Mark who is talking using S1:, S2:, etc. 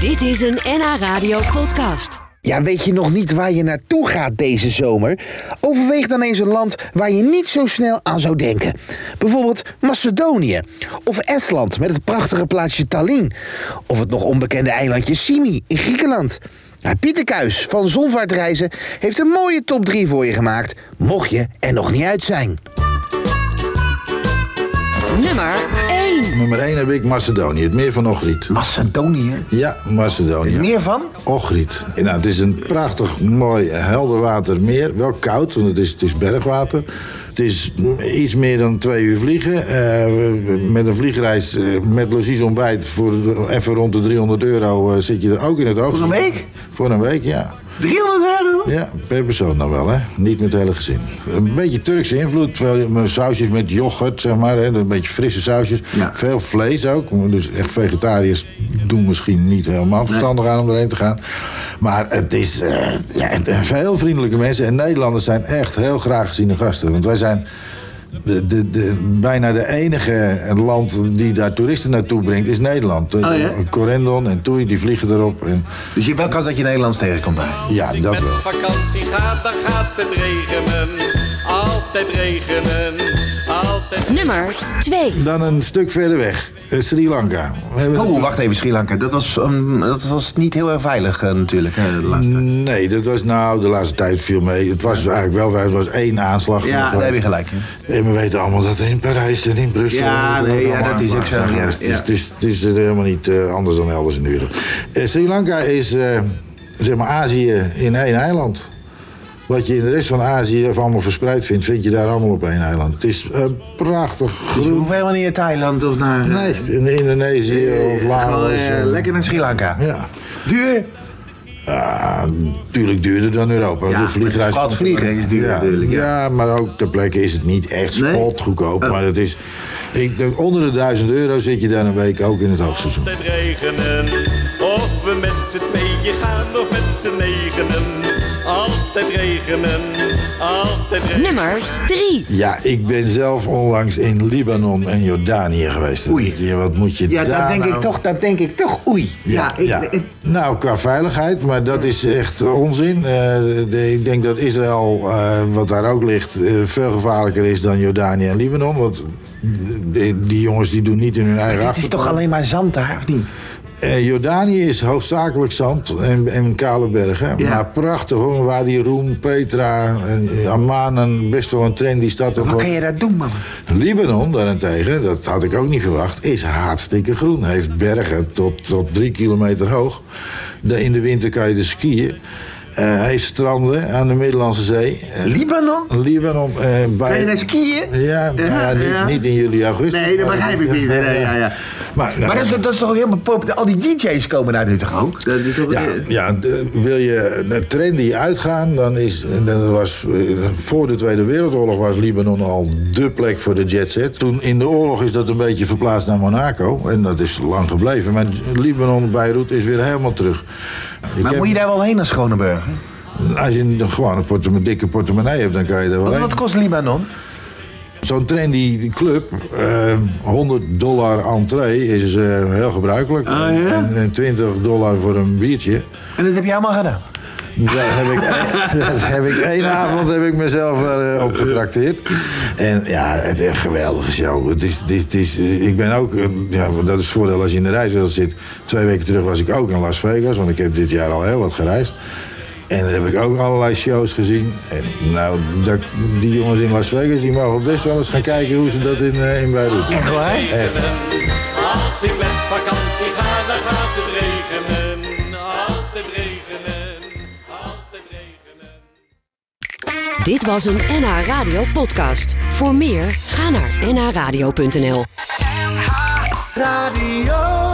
S1: Dit is een NH Radio podcast.
S2: Ja, weet je nog niet waar je naartoe gaat deze zomer? Overweeg dan eens een land waar je niet zo snel aan zou denken. Bijvoorbeeld Macedonië. Of Estland met het prachtige plaatsje Tallinn. Of het nog onbekende eilandje Simi in Griekenland. Nou, Pieter Kuijs van Zonvaartreizen heeft een mooie top 3 voor je gemaakt. Mocht je er nog niet uit zijn.
S1: Nummer 1.
S3: Nummer 1 heb ik Macedonië, het meer van Ochrid.
S2: Macedonië?
S3: Ja, Macedonië.
S2: Meer van?
S3: Ochrid. Nou, het is een prachtig, mooi, helder watermeer. Wel koud, want het is, het is bergwater. Het is iets meer dan twee uur vliegen. Eh, we- met een vliegreis, eh, met logies ontbijt, voor even rond de 300 euro eh, zit je er ook in het oog.
S2: Voor een week?
S3: Voor een week, ja.
S2: 300 euro?
S3: Ja, per persoon dan wel, hè? Niet met het hele gezin. Een beetje Turkse invloed, wel, met sausjes met yoghurt, zeg maar. Hè? Een beetje frisse sausjes.
S2: Ja.
S3: Veel vlees ook. Dus echt vegetariërs doen misschien niet helemaal verstandig aan om erheen te gaan. Maar het is eh, ja, het- heel vriendelijke mensen. En Nederlanders zijn echt heel graag geziene gasten. Want wij zijn... De, de, de, bijna de enige land die daar toeristen naartoe brengt is Nederland.
S4: Oh, ja?
S3: Corendon en Toei, die vliegen erop. En,
S4: Dus je hebt wel kans dat je Nederlands tegenkomt daar.
S3: ja,
S5: Als ik
S3: dat
S5: met
S3: wel.
S5: vakantie ga, dan gaat het regenen. Altijd regenen. Altijd
S1: Nummer 2.
S3: Dan een stuk verder weg. Eh, Sri Lanka. We hebben-
S4: Oh, wacht even, Sri Lanka. Dat was, ehm, dat was niet heel erg veilig eh, natuurlijk. hè, de laatste tijd.
S3: Nee, dat was nou, de laatste tijd viel mee. Het was eigenlijk wel, het was één aanslag.
S4: Ja, daar heb je gelijk. hè.
S3: En we weten allemaal dat in Parijs en in Brussel.
S4: Ja,
S3: en
S4: nee,
S3: ook
S4: ja,
S3: allemaal
S4: dat is ook
S3: aanslag
S4: zo,
S3: zijn
S4: ja,
S3: geweest.
S4: ja.
S3: Dus Het is, het is er helemaal niet eh, anders dan elders in de wereld. Eh, Sri Lanka is, eh, zeg maar, Azië in één eiland. Wat je in de rest van Azië of allemaal verspreid vindt, vind je daar allemaal op één eiland. Het is eh, prachtig
S4: Dus je
S3: groen.
S4: hoeft helemaal niet naar Thailand of naar... eh,
S3: Nee, in Indonesië of Laos.
S4: gewoon, eh,
S3: eh,
S4: lekker naar Sri Lanka.
S3: Ja.
S4: Duur?
S3: Ja, natuurlijk duurder dan Europa.
S4: Ja,
S3: de vliegreis.
S4: maar het vliegen is duurder
S3: ja,
S4: natuurlijk, ja.
S3: ja. maar ook ter plekke is het niet echt
S4: Nee? Eh.
S3: spot goedkoop. Maar het is, ik, denk, onder de 1000 euro zit je daar een week ook in het hoogseizoen.
S5: altijd regenen. Of we met z'n tweeën gaan of met z'n negenen. Altijd regenen. Altijd regenen.
S1: Nummer 3.
S3: Ja, ik ben zelf onlangs in Libanon en Jordanië geweest. Dan
S4: Oei.
S3: denk je, wat moet je
S4: Ja,
S3: daar
S4: dat denk
S3: nou-
S4: ik toch, dat denk ik toch. Oei. Ja, ik, ik-
S3: Nou, qua veiligheid, maar dat is echt onzin. Eh, de- ik denk dat Israël, eh, wat daar ook ligt, eh, veel gevaarlijker is dan Jordanië en Libanon. Want die, die jongens die doen niet in hun eigen
S4: het is toch alleen maar zand daar, of niet?
S3: Eh, Jordanië is hoofdzakelijk zand en, en kale bergen.
S4: Ja.
S3: Maar prachtig hoor, waar die Roem, Petra en Amman, en best wel een trendy stad.
S4: Wat kan je daar doen, man?
S3: Libanon daarentegen, dat had ik ook niet verwacht, is hartstikke groen. Heeft bergen tot, tot drie kilometer hoog. De- in de winter kan je dus skiën. Eh, heeft stranden aan de Middellandse Zee. Eh,
S4: Libanon?
S3: Libanon eh, bij...
S4: Kan je daar skiën?
S3: Ja, nou ja,
S4: Ja,
S3: niet,
S4: ja.
S3: niet in juli, augustus.
S4: Nee, dat begrijp ik niet. Nee, ja, ja.
S3: Maar,
S4: Maar dat is, dat is toch ook helemaal populair? Al die DJ's komen daar nu toch ook? Dat is toch-
S3: Ja, ja de- wil je de trendy uitgaan, dan is... en Dat was, eh, voor de Tweede Wereldoorlog was Libanon al dé plek voor de jetset. Toen in de oorlog is dat een beetje verplaatst naar Monaco. En dat is lang gebleven. Maar Libanon, Beirut, is weer helemaal terug. Ik
S4: Maar
S3: heb-
S4: moet je daar wel heen naar Schoneburg?
S3: Als je een- gewoon een portemo- dikke portemonnee hebt, dan kan je daar wel
S4: Wat,
S3: heen.
S4: wat kost Libanon?
S3: Zo'n trendy club, eh, 100 dollar entree is eh, heel gebruikelijk.
S4: Ah,
S3: en, en 20 dollar voor een biertje.
S4: En dat heb je allemaal gedaan.
S3: Dus daar heb ik, dat heb ik één avond heb ik mezelf eh, op getrakteerd. En ja, het is een geweldige show. Het is, het is, het is, eh, ik ben ook, eh, ja, want dat is het voordeel als je in de reiswereld zit. Twee weken terug was ik ook in Las Vegas, want ik heb dit jaar al heel wat gereisd. En daar heb ik ook allerlei shows gezien. En nou, dat, die jongens in Las Vegas die mogen best wel eens gaan kijken hoe ze dat in, eh, in Beirut doen.
S4: Echt waar?
S5: Als ik met vakantie ga, dan gaat het regenen. Altijd regenen. Altijd regenen.
S1: Dit was een NH Radio podcast. Voor meer, ga naar nhradio.nl.
S5: Radio.